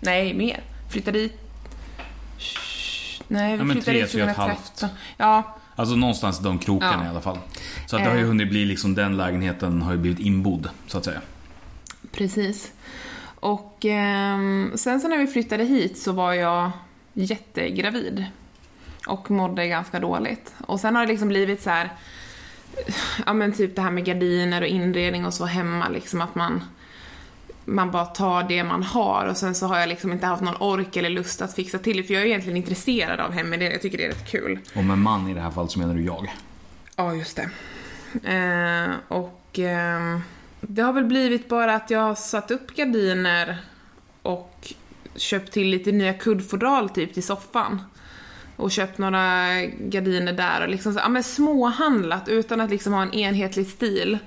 Speaker 2: Nej, mer. Flyttade dit... Shh. Nej, vi
Speaker 4: men
Speaker 2: flyttade
Speaker 4: tre,
Speaker 2: dit
Speaker 4: tre och ett
Speaker 2: 2013.
Speaker 4: halvt.
Speaker 2: Ja,
Speaker 4: Alltså någonstans i de krokarna
Speaker 2: Ja.
Speaker 4: i alla fall. Så att det har ju
Speaker 2: Eh.
Speaker 4: hunnit bli liksom, den lägenheten har ju blivit inbodd, så att säga.
Speaker 2: precis. Och ehm, sen så när vi flyttade hit så var jag jättegravid. Och mådde ganska dåligt. Och sen har det liksom blivit så här... Ja men typ det här med gardiner och inredning och så hemma liksom att man man bara tar det man har och sen så har jag liksom inte haft någon ork eller lust att fixa till det för jag är egentligen intresserad av heminredning, jag tycker det är rätt kul.
Speaker 4: Och med man i det här fallet så menar du jag.
Speaker 2: Ja, just det. Eh, och ehm, det har väl blivit bara att jag har satt upp gardiner och köpt till lite nya kuddfodral typ till soffan. Och köpt några gardiner där och liksom så, ja, men småhandlat utan att liksom ha en enhetlig stil.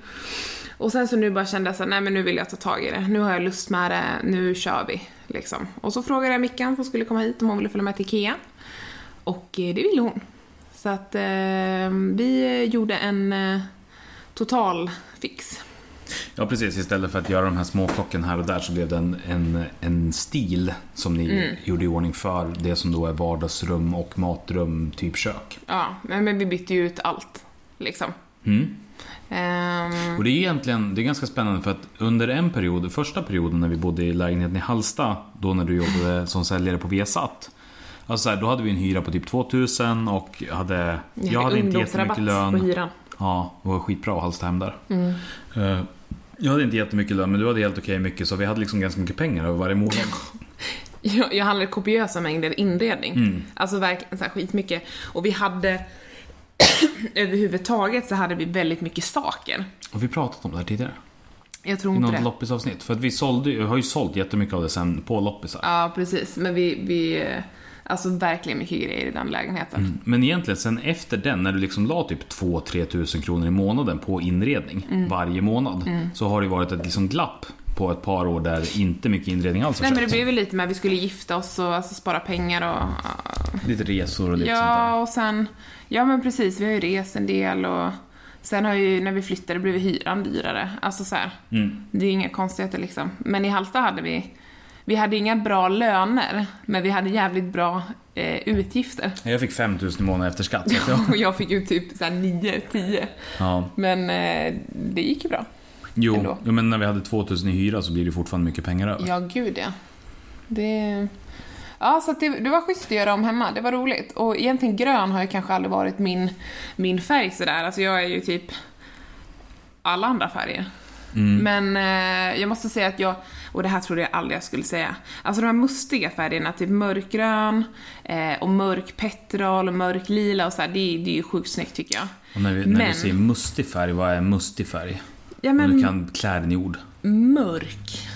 Speaker 2: Och sen så nu bara kände jag så här, nej men nu vill jag ta tag i det. Nu har jag lust med det, nu kör vi. Liksom. Och så frågade jag Mickan som skulle komma hit om hon ville följa med till Ikea. Och eh, det ville hon. Så att eh, vi gjorde en eh, total fix.
Speaker 4: Ja precis, istället för att göra de här småklocken här och där så blev det en, en, en stil som ni
Speaker 2: Mm.
Speaker 4: gjorde i ordning för det som då är vardagsrum och matrum, typ kök.
Speaker 2: Ja, men, men vi bytte ju ut allt. Liksom.
Speaker 4: Mm.
Speaker 2: Ehm,
Speaker 4: Och det är egentligen det är ganska spännande för att under en period, första perioden när vi bodde i lägenheten i Hallsta, då när du jobbade som säljare på Viasat. Alltså så här, då hade vi en hyra på typ 2000 och hade,
Speaker 2: vi
Speaker 4: jag hade inte
Speaker 2: ungdomsrabatt
Speaker 4: jättemycket lön.
Speaker 2: på hyran. Mm.
Speaker 4: Ja, det var skitbra att halsta hem där. Eh, Jag hade inte jättemycket lön, men du hade helt okej mycket, så vi hade liksom ganska mycket pengar över varje månad.
Speaker 2: Jag, jag handlade kopiösa mängder inredning.
Speaker 4: Mm.
Speaker 2: Alltså verkligen så här skitmycket. Och vi hade överhuvudtaget så hade vi väldigt mycket saker.
Speaker 4: Har vi pratat om det här tidigare?
Speaker 2: Jag tror
Speaker 4: I
Speaker 2: inte
Speaker 4: något
Speaker 2: det.
Speaker 4: loppisavsnitt? För att vi sålde, ju- har ju sålt jättemycket av det sen på loppisar.
Speaker 2: Ja, precis. Men vi, vi, eh, alltså verkligen mycket grejer i den lägenheten.
Speaker 4: Men egentligen sen efter den, när du liksom la typ 2-3 tusen kronor i månaden på inredning
Speaker 2: Mm.
Speaker 4: varje månad. Så har det varit ett liksom glapp på ett par år där inte mycket inredning alls har
Speaker 2: Nej men det
Speaker 4: köpts.
Speaker 2: blev väl lite med att vi skulle gifta oss och alltså, spara pengar och...
Speaker 4: Lite resor och lite sånt
Speaker 2: Ja och sen... Ja men precis, vi har ju rest en del och... Sen har ju, när vi flyttade blev hyran dyrare. Alltså så här.
Speaker 4: Mm.
Speaker 2: Det är inga konstigheter liksom. Men i Halsta hade vi... Vi hade inga bra löner, men vi hade jävligt bra eh, utgifter.
Speaker 4: där. Jag fick 5 000 i månaden efter skatt. Så att jag,
Speaker 2: Och jag fick ju typ såhär 9, 10.
Speaker 4: ja.
Speaker 2: Men eh, det gick ju bra.
Speaker 4: Jo,
Speaker 2: Ändå.
Speaker 4: jo, men när vi hade 2000 i hyra så blir det fortfarande mycket pengar över.
Speaker 2: Ja, gud ja. Det... Ja, så att det, det var schysst att göra om hemma. Det var roligt. Och egentligen grön har ju kanske aldrig varit min, min färg sådär. Alltså jag är ju typ alla andra färger.
Speaker 4: Mm.
Speaker 2: Men eh, jag måste säga att jag, och det här trodde jag aldrig jag skulle säga, alltså de här mustiga färgerna, typ mörkgrön eh, och mörk petrol och mörk lila och så här, det, det är ju sjukt snyggt tycker jag.
Speaker 4: Och när, vi, när du
Speaker 2: Men-
Speaker 4: säger mustig färg, vad är mustig färg?
Speaker 2: Ja,
Speaker 4: Om
Speaker 2: men-
Speaker 4: du kan klä den i ord.
Speaker 2: mörk.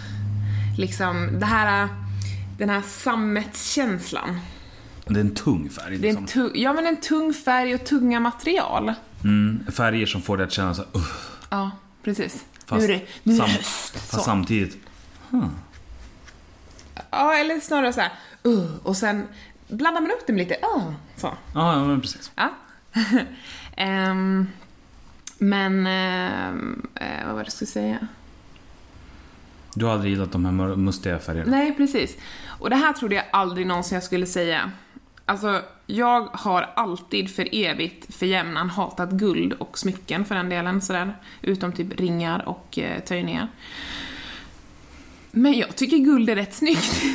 Speaker 2: Liksom det här, den här sammetskänslan.
Speaker 4: Det är en tung färg.
Speaker 2: Det är en
Speaker 4: Liksom.
Speaker 2: tu- ja, men en tung färg och tunga material.
Speaker 4: Mm. Färger som får dig att känna så här, "Uff",
Speaker 2: Ja, precis.
Speaker 4: fast,
Speaker 2: nu är det, nu är det
Speaker 4: sam-
Speaker 2: höst.
Speaker 4: fast
Speaker 2: Så.
Speaker 4: samtidigt.
Speaker 2: Ja, eller snarare så här, uh, och sen blandar man upp det med lite uh, så.
Speaker 4: Ja, ja men precis.
Speaker 2: Ja. Ehm, men, ehm, eh, vad var det jag skulle säga?
Speaker 4: Du har aldrig gillat de här mör- mustiga färgerna?
Speaker 2: Nej, precis. Och det här trodde jag aldrig någonsin jag skulle säga. Alltså, jag har alltid för evigt, för jämnan, hatat guld och smycken för den delen, sådär. Utom typ ringar och eh, töjningar. Men jag tycker guld är rätt snyggt.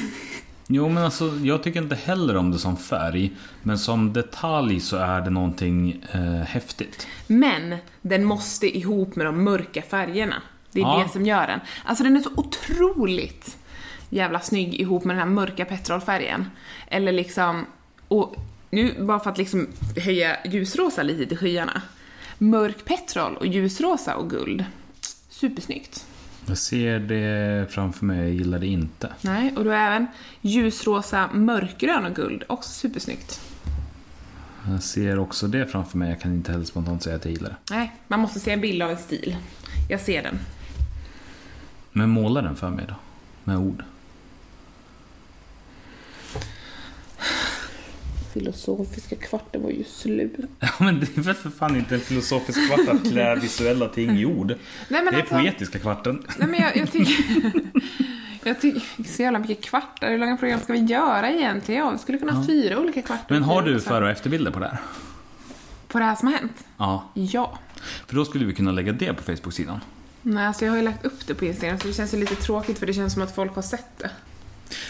Speaker 4: Jo, men alltså jag tycker inte heller om det som färg. Men som detalj så är det någonting eh, häftigt.
Speaker 2: Men den måste ihop med de mörka färgerna. Det är
Speaker 4: Ja.
Speaker 2: det som gör den. Alltså den är så otroligt jävla snygg ihop med den här mörka petrolfärgen. Eller liksom, och nu bara för att liksom höja ljusrosa lite till skyarna. Mörk petrol och ljusrosa och guld. Supersnyggt.
Speaker 4: Jag ser det framför mig, jag gillar det inte.
Speaker 2: Nej, och då är även ljusrosa, mörkgrön och guld. Också supersnyggt.
Speaker 4: Jag ser också det framför mig, jag kan inte heller spontant säga att jag gillar det.
Speaker 2: Nej, man måste se en bild av en stil. Jag ser den.
Speaker 4: Men måla den för mig då, med ord.
Speaker 2: Filosofiska kvarten var ju slut.
Speaker 4: Ja, men det är väl för fan inte en filosofisk kvart att klä visuella ting i ord.
Speaker 2: Nej, men
Speaker 4: det är
Speaker 2: alltså-
Speaker 4: poetiska kvarten.
Speaker 2: Nej men jag, jag tycker... Jag tycker så jävla mycket kvartar. Hur långa program ska vi göra egentligen? Ja, vi skulle kunna ha fyra olika kvartar.
Speaker 4: Men har du
Speaker 2: Så-
Speaker 4: före och efterbilder på det här?
Speaker 2: På det här som har hänt?
Speaker 4: Ja,
Speaker 2: Ja.
Speaker 4: för då skulle vi kunna lägga det på Facebook-sidan.
Speaker 2: Nej, alltså jag har ju lagt upp det på Instagram så det känns ju lite tråkigt för det känns som att folk har sett det.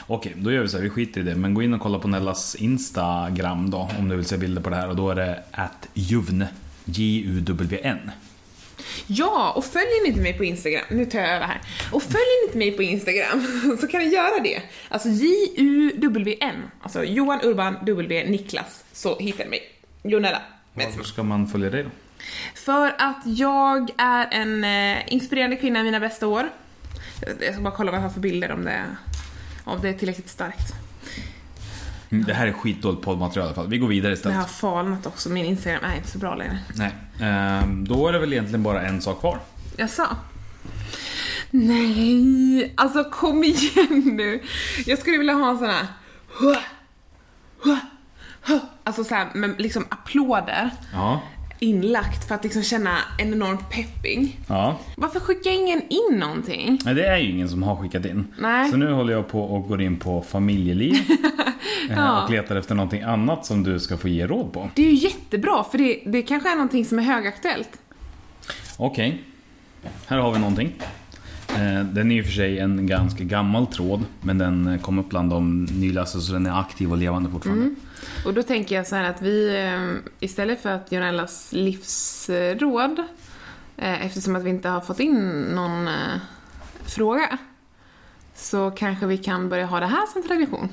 Speaker 4: Okej, då gör vi så här, vi skiter i det. Men gå in och kolla på Nellas Instagram då, om du vill se bilder på det här. Och då är det att juvn, J-U-W-N.
Speaker 2: Ja, och följer ni inte mig på Instagram, nu tar jag över här. Och följer ni inte mig på Instagram så kan ni göra det. Alltså J-U-W-N, alltså Johan Urban W Niklas, så hittar ni mig. Jonella. Betsson.
Speaker 4: Varför ska man följa dig då?
Speaker 2: För att jag är en eh, inspirerande kvinna i mina bästa år. Jag ska bara kolla vad jag har för bilder om det, om det är tillräckligt starkt.
Speaker 4: Mm, Det här är skitdåligt poddmaterial i alla fall. Vi går vidare
Speaker 2: Det
Speaker 4: istället.
Speaker 2: har falnat också, min Instagram är inte så bra längre.
Speaker 4: Nej. Ehm, då är det väl egentligen bara en sak kvar.
Speaker 2: Jag sa. Nej, alltså kom igen nu. Jag skulle vilja ha en sån här... "Hua, hua, hua." Alltså såhär med liksom applåder
Speaker 4: Ja.
Speaker 2: inlagt för att liksom känna en enorm pepping.
Speaker 4: Ja.
Speaker 2: Varför skickar ingen in någonting?
Speaker 4: Nej, det är ju ingen som har skickat in.
Speaker 2: Nej.
Speaker 4: Så nu håller jag på och går in på familjeliv. eh,
Speaker 2: Ja.
Speaker 4: Och letar efter någonting annat som du ska få ge råd på.
Speaker 2: Det är ju jättebra för det, det kanske är någonting som är högaktuellt.
Speaker 4: Okej. Här har vi någonting. Eh, Den är ju för sig en ganska gammal tråd. Men den eh, kom upp bland de nylästa så den är aktiv och levande fortfarande.
Speaker 2: Mm. Och då tänker jag så här att vi eh, istället för att Jonellas livsråd eh, eftersom att vi inte har fått in någon eh, fråga så kanske vi kan börja ha det här som tradition.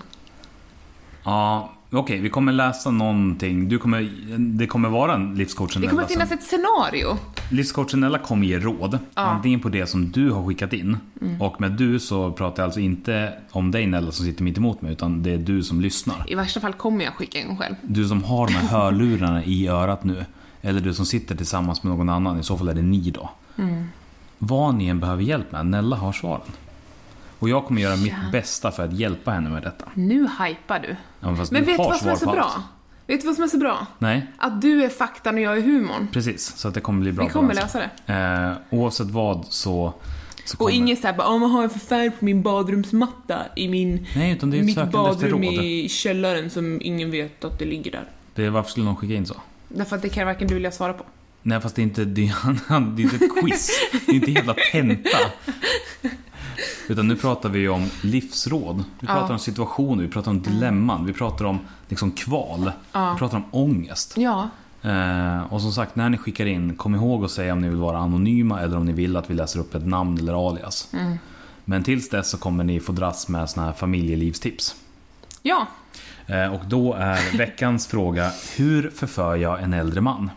Speaker 4: Ja, okej. vi kommer läsa någonting. Du kommer, det kommer vara en livscoachen
Speaker 2: Det kommer
Speaker 4: Ella sen.
Speaker 2: finnas ett scenario.
Speaker 4: Livscoachen Ella kommer ge råd. Antingen på det som du har skickat in.
Speaker 2: Mm.
Speaker 4: Och med du så pratar jag alltså inte om dig Nella som sitter mitt emot mig. Utan det är du som lyssnar.
Speaker 2: I värsta fall kommer jag skicka en själv.
Speaker 4: Du som har de här hörlurarna i örat nu. Eller du som sitter tillsammans med någon annan. I så fall är det ni då.
Speaker 2: Mm.
Speaker 4: Vad ni än behöver hjälp med. Nella har svaren. Och jag kommer göra mitt bästa för att hjälpa henne med detta.
Speaker 2: Nu hypar du.
Speaker 4: Ja, men fast
Speaker 2: Men
Speaker 4: du
Speaker 2: vet du
Speaker 4: har
Speaker 2: vad som är
Speaker 4: svar
Speaker 2: så
Speaker 4: på
Speaker 2: bra?
Speaker 4: allt.
Speaker 2: Vet du vad som är så bra?
Speaker 4: Nej,
Speaker 2: Att du är faktan och jag är humorn.
Speaker 4: precis. Så att det kommer bli bra.
Speaker 2: Vi kommer
Speaker 4: balans.
Speaker 2: lösa det.
Speaker 4: Eh, oavsett vad så... så
Speaker 2: Och
Speaker 4: kommer-
Speaker 2: ingen såhär bara, "Åh, vad har jag för färg på min badrumsmatta i min...
Speaker 4: Nej, utan det är ett
Speaker 2: mitt
Speaker 4: sökande efter
Speaker 2: badrum
Speaker 4: råd.
Speaker 2: i källaren som ingen vet att det ligger där.
Speaker 4: Det, varför skulle någon skicka in så?
Speaker 2: Därför att det kan varken du eller jag svara på.
Speaker 4: Nej fast det är inte, det är, det är inte ett quiz, det är inte en jävla tenta. Utan nu pratar vi ju om livsråd, vi pratar
Speaker 2: Ja.
Speaker 4: om situationer, vi pratar om dilemman, vi pratar om liksom kval,
Speaker 2: Ja.
Speaker 4: vi pratar om ångest.
Speaker 2: Ja.
Speaker 4: Eh, och som sagt, när ni skickar in, kom ihåg att säga om ni vill vara anonyma eller om ni vill att vi läser upp ett namn eller
Speaker 2: Mm.
Speaker 4: alias. Men tills dess så kommer ni få dras med såna här familjelivstips.
Speaker 2: Ja.
Speaker 4: Eh, Och då är veckans fråga, hur förför jag en äldre man?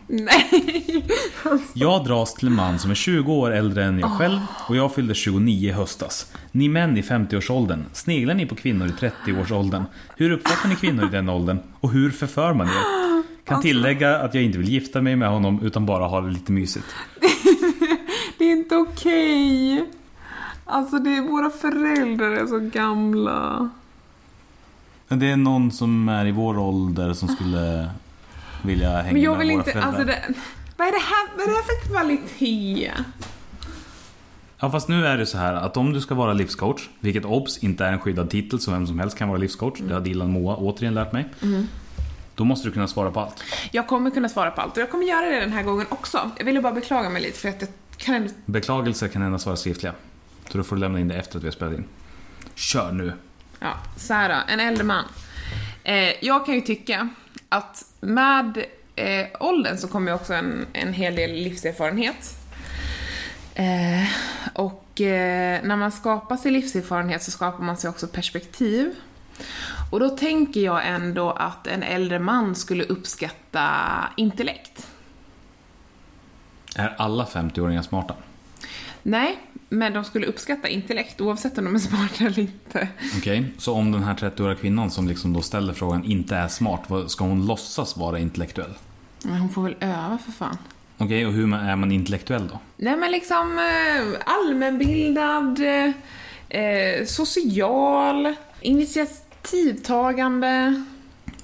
Speaker 4: Jag dras till en man som är 20 år äldre än jag själv och jag fyllde 29 i höstas. Ni män i 50-årsåldern, sneglar ni på kvinnor i 30-årsåldern? Hur uppfattar ni kvinnor i den åldern? Och hur förför man er? Kan
Speaker 2: Alltså-
Speaker 4: tillägga att jag inte vill gifta mig med honom utan bara ha det lite mysigt.
Speaker 2: Det är inte okej. Alltså det är, våra föräldrar är så gamla.
Speaker 4: Det är någon som är i vår ålder som skulle vilja hänga
Speaker 2: Men jag vill inte, alltså det, vad, är det här, vad är det här för kvalitet?
Speaker 4: Ja fast nu är det så här att om du ska vara livscoach, vilket obs inte är en skyddad titel så vem som helst kan vara livscoach. Det har Dilan Moa återigen lärt mig. Då måste du kunna svara på allt.
Speaker 2: Jag kommer kunna svara på allt och jag kommer göra det den här gången också. Jag ville bara beklaga mig lite för att jag kan ändå...
Speaker 4: Beklagelser kan endast vara skriftliga. Så då får du lämna in det efter att vi har spelat in. Kör nu!
Speaker 2: Ja, så här då, en äldre man. Eh, jag kan ju tycka att med eh, åldern så kommer ju också en, en hel del livserfarenhet. Eh, och eh, när man skapar sig livserfarenhet så skapar man sig också perspektiv. Och då tänker jag ändå att en äldre man skulle uppskatta intellekt.
Speaker 4: Är alla 50-åringar smarta?
Speaker 2: Nej, men de skulle uppskatta intellekt oavsett om de är smarta eller inte.
Speaker 4: Okej, så om den här 30-åriga kvinnan som liksom då ställer frågan inte är smart, vad- ska hon låtsas vara intellektuell?
Speaker 2: Men hon får väl öva för fan.
Speaker 4: Okej, och hur man- är man intellektuell då?
Speaker 2: Nej men liksom eh, allmänbildad, eh, eh, social, initiativtagande.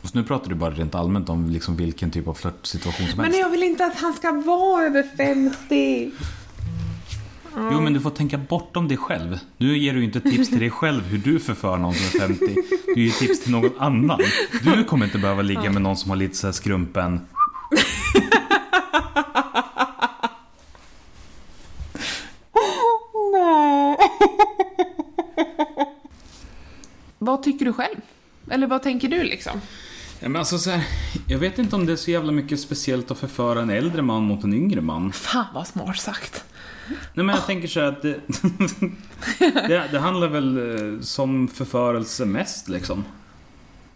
Speaker 4: Så nu pratar du bara rent allmänt om liksom vilken typ av flörtsituation som
Speaker 2: Men
Speaker 4: helst.
Speaker 2: jag vill inte att han ska vara över 50.
Speaker 4: Jo men du får tänka bortom dig själv. Nu ger du ju inte tips till dig själv hur du förför någon som är 50. Du ger tips till någon annan. Du kommer inte behöva ligga med någon som har lite så här skrumpen.
Speaker 2: Vad tycker du själv? Eller vad tänker du liksom?
Speaker 4: Ja, men alltså så här, jag vet inte om det är så jävla mycket speciellt att förföra en äldre man mot en yngre man.
Speaker 2: Fan vad smart sagt.
Speaker 4: Nej men jag tänker så här att det, det, det handlar väl eh, som förförelse mest liksom.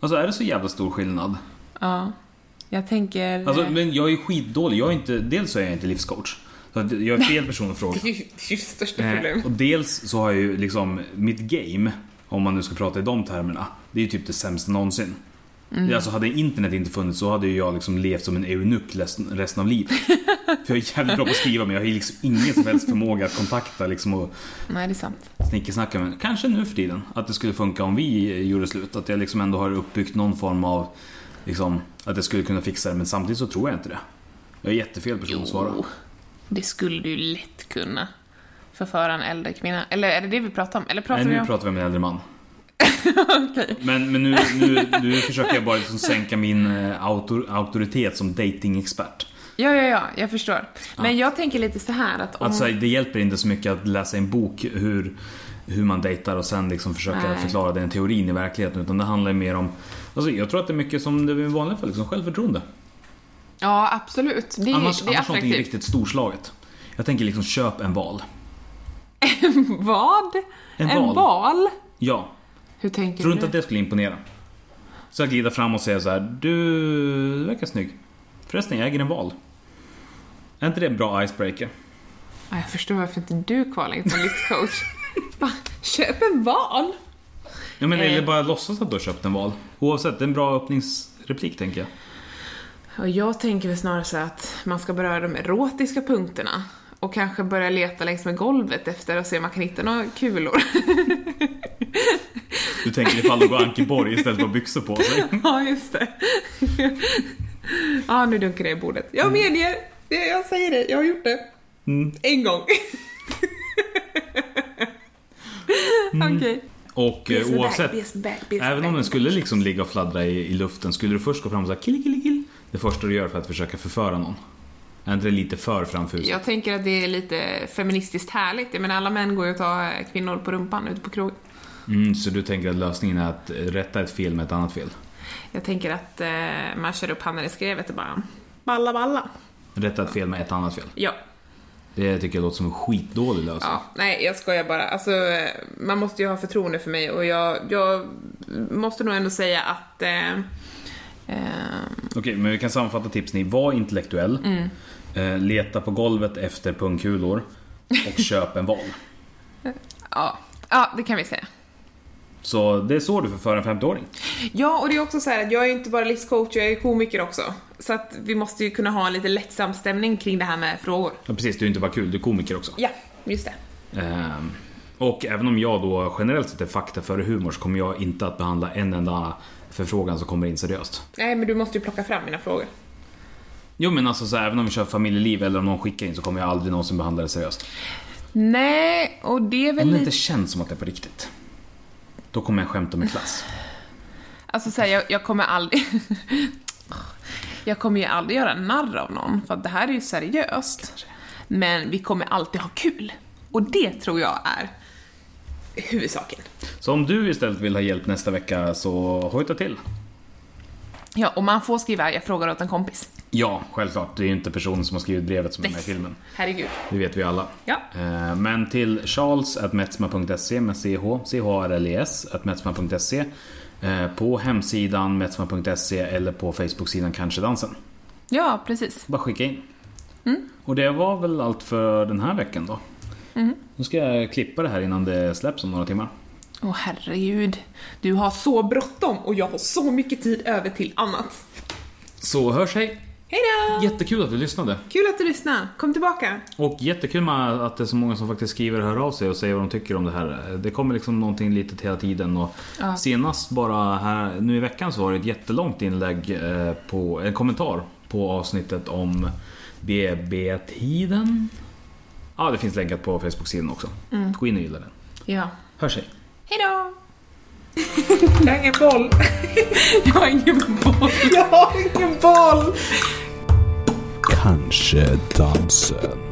Speaker 4: Alltså är det så jävla stor skillnad?
Speaker 2: Ja. Jag tänker... eh,
Speaker 4: Alltså, men jag är skitdålig. Jag är inte, dels så är jag inte livscoach. Så att jag är fel person att fråga.
Speaker 2: Det är ju- det är ju största
Speaker 4: Eh,
Speaker 2: problemet.
Speaker 4: och dels så har jag ju liksom mitt game, om man nu ska prata i de termerna, det är ju typ det sämsta någonsin. Mm. Alltså hade internet inte funnits så hade ju jag liksom levt som en eunuck resten- resten av livet. För jag är jävligt bra på att skriva men jag har ju liksom ingen som helst förmåga att kontakta liksom och
Speaker 2: Nej det är sant.
Speaker 4: snickersnacka. Men kanske nu för tiden att det skulle funka om vi eh, gjorde slut. Att jag liksom ändå har uppbyggt någon form av, liksom, att jag skulle kunna fixa det men samtidigt så tror jag inte det. Jag är jättefel person att svara.
Speaker 2: Jo, det skulle du ju lätt kunna förföra en äldre kvinna. Eller är det det vi pratar om? Eller pratar
Speaker 4: Nej,
Speaker 2: vi
Speaker 4: nu
Speaker 2: om...
Speaker 4: pratar vi om en äldre man. Men, men nu, nu, nu försöker jag bara liksom sänka min eh, autor, auktoritet som datingexpert.
Speaker 2: Ja, ja, ja, jag förstår. Men jag tänker lite så här att om...
Speaker 4: Alltså det hjälper inte så mycket att läsa en bok hur, hur man dejtar och sen liksom försöka
Speaker 2: Nej.
Speaker 4: förklara den teorin i verkligheten. Utan det handlar ju mer om, alltså, jag tror att det är mycket som det är i vanliga fall, liksom självförtroende.
Speaker 2: ja, absolut. Det är, det är
Speaker 4: Annars, annars någonting
Speaker 2: attraktivt.
Speaker 4: riktigt storslaget. Jag tänker liksom köp en val.
Speaker 2: Vad?
Speaker 4: En val. Ja,
Speaker 2: Hur tänker
Speaker 4: tror
Speaker 2: du?
Speaker 4: inte att det skulle imponera. Så jag glider fram och säger så här, du verkar snygg. Förresten, jag äger en val. Är inte det en bra icebreaker?
Speaker 2: Ja, jag förstår varför inte du kvalar in som livscoach. Va? Köp en val?
Speaker 4: Ja, men
Speaker 2: Eh.
Speaker 4: Eller bara låtsas att du har köpt en val. Oavsett, det är en bra öppningsreplik tänker jag.
Speaker 2: Och jag tänker väl snarare så att man ska beröra de erotiska punkterna och kanske börja leta längs med golvet efter och se om man kan hitta några kulor.
Speaker 4: Du tänker ifall du går Ankeborg istället för byxor på sig.
Speaker 2: Ja, just det. Ja, nu dunkar det i bordet. Jag medger. Det- Jag säger det, jag har gjort det.
Speaker 4: Mm.
Speaker 2: En gång. Okej.
Speaker 4: Och eh, Mm. oavsett, även om den skulle liksom ligga och fladdra i, i luften, skulle du först gå fram och säga kill, kill, kill. Det första du gör för att försöka förföra någon. Är inte det lite för framfusigt?
Speaker 2: Jag tänker att det är lite feministiskt härligt. Jag menar, alla män går ju och tar kvinnor på rumpan ute på krogen.
Speaker 4: Mm, så du tänker att lösningen är att eh, rätta ett fel med ett annat fel?
Speaker 2: Jag tänker att eh, man kör upp handen i skrevet och bara balla balla.
Speaker 4: Rätta ett fel med ett annat fel.
Speaker 2: Ja.
Speaker 4: Det tycker jag låter som en skitdålig lösning.
Speaker 2: ja. Nej, jag skojar bara. Alltså, eh, man måste ju ha förtroende för mig och jag, jag måste nog ändå säga att eh, eh,
Speaker 4: Okej, men vi kan sammanfatta tipsen i var intellektuell. Eh, leta på golvet efter pungkulor. Och köp en val.
Speaker 2: ja. ja, det kan vi säga.
Speaker 4: Så det är så du förför en 50-åring.
Speaker 2: Ja, och det är också så här att jag är ju inte bara livscoach, jag är ju komiker också. Så att vi måste ju kunna ha en lite lättsam stämning kring det här med frågor.
Speaker 4: Ja, precis, du är inte bara kul, du är komiker också.
Speaker 2: Ja, just det.
Speaker 4: Ehm, och även om jag då generellt sett är fakta före humor så kommer jag inte att behandla en enda förfrågan som kommer in seriöst.
Speaker 2: Nej, men du måste ju plocka fram mina frågor.
Speaker 4: Jo men alltså så här, även om vi kör familjeliv eller om någon skickar in så kommer jag aldrig någonsin behandla det seriöst.
Speaker 2: Nej, och det är väl
Speaker 4: Om det
Speaker 2: lite...
Speaker 4: inte känns som att det är på riktigt. Då kommer jag skämta med klass.
Speaker 2: Alltså så här, jag, jag kommer aldrig... jag kommer ju aldrig göra narr av någon, för att det här är ju seriöst. Men vi kommer alltid ha kul. Och det tror jag är huvudsaken.
Speaker 4: Så om du istället vill ha hjälp nästa vecka så hojta till.
Speaker 2: Ja, och man får skriva “jag frågar åt en kompis”.
Speaker 4: Ja, självklart. Det är ju inte personen som har skrivit brevet som är med i filmen.
Speaker 2: Herregud.
Speaker 4: Det vet vi alla.
Speaker 2: Ja.
Speaker 4: Eh, Men till charles.metsma.se med ch, c-h-r-l-e-s, E at metsma.se, eh, På hemsidan metsma.se eller på Facebook-sidan Kanske dansen.
Speaker 2: Ja, precis.
Speaker 4: Bara skicka in. Och det var väl allt för den här veckan då. Nu ska jag klippa det här innan det släpps om några timmar.
Speaker 2: Åh herregud. Du har så bråttom och jag har så mycket tid över till annat.
Speaker 4: Så hörs hej!
Speaker 2: Hej då!
Speaker 4: Jättekul att du lyssnade.
Speaker 2: Kul att du lyssnade. Kom tillbaka.
Speaker 4: Och jättekul med att det är så många som faktiskt skriver och hör av sig och säger vad de tycker om det här. Det kommer liksom någonting litet hela tiden. Och
Speaker 2: Ja.
Speaker 4: Senast bara här nu i veckan så var det ett jättelångt inlägg eh, på en kommentar på avsnittet om BB-tiden. Ja, det finns länkat på Facebook-sidan också. Gå in och gilla den.
Speaker 2: Ja.
Speaker 4: Hörs hej!
Speaker 2: Hej då!
Speaker 1: Jag har ingen boll.
Speaker 2: Jag har ingen boll.
Speaker 1: Jag har ingen boll.
Speaker 6: Kanske dansen.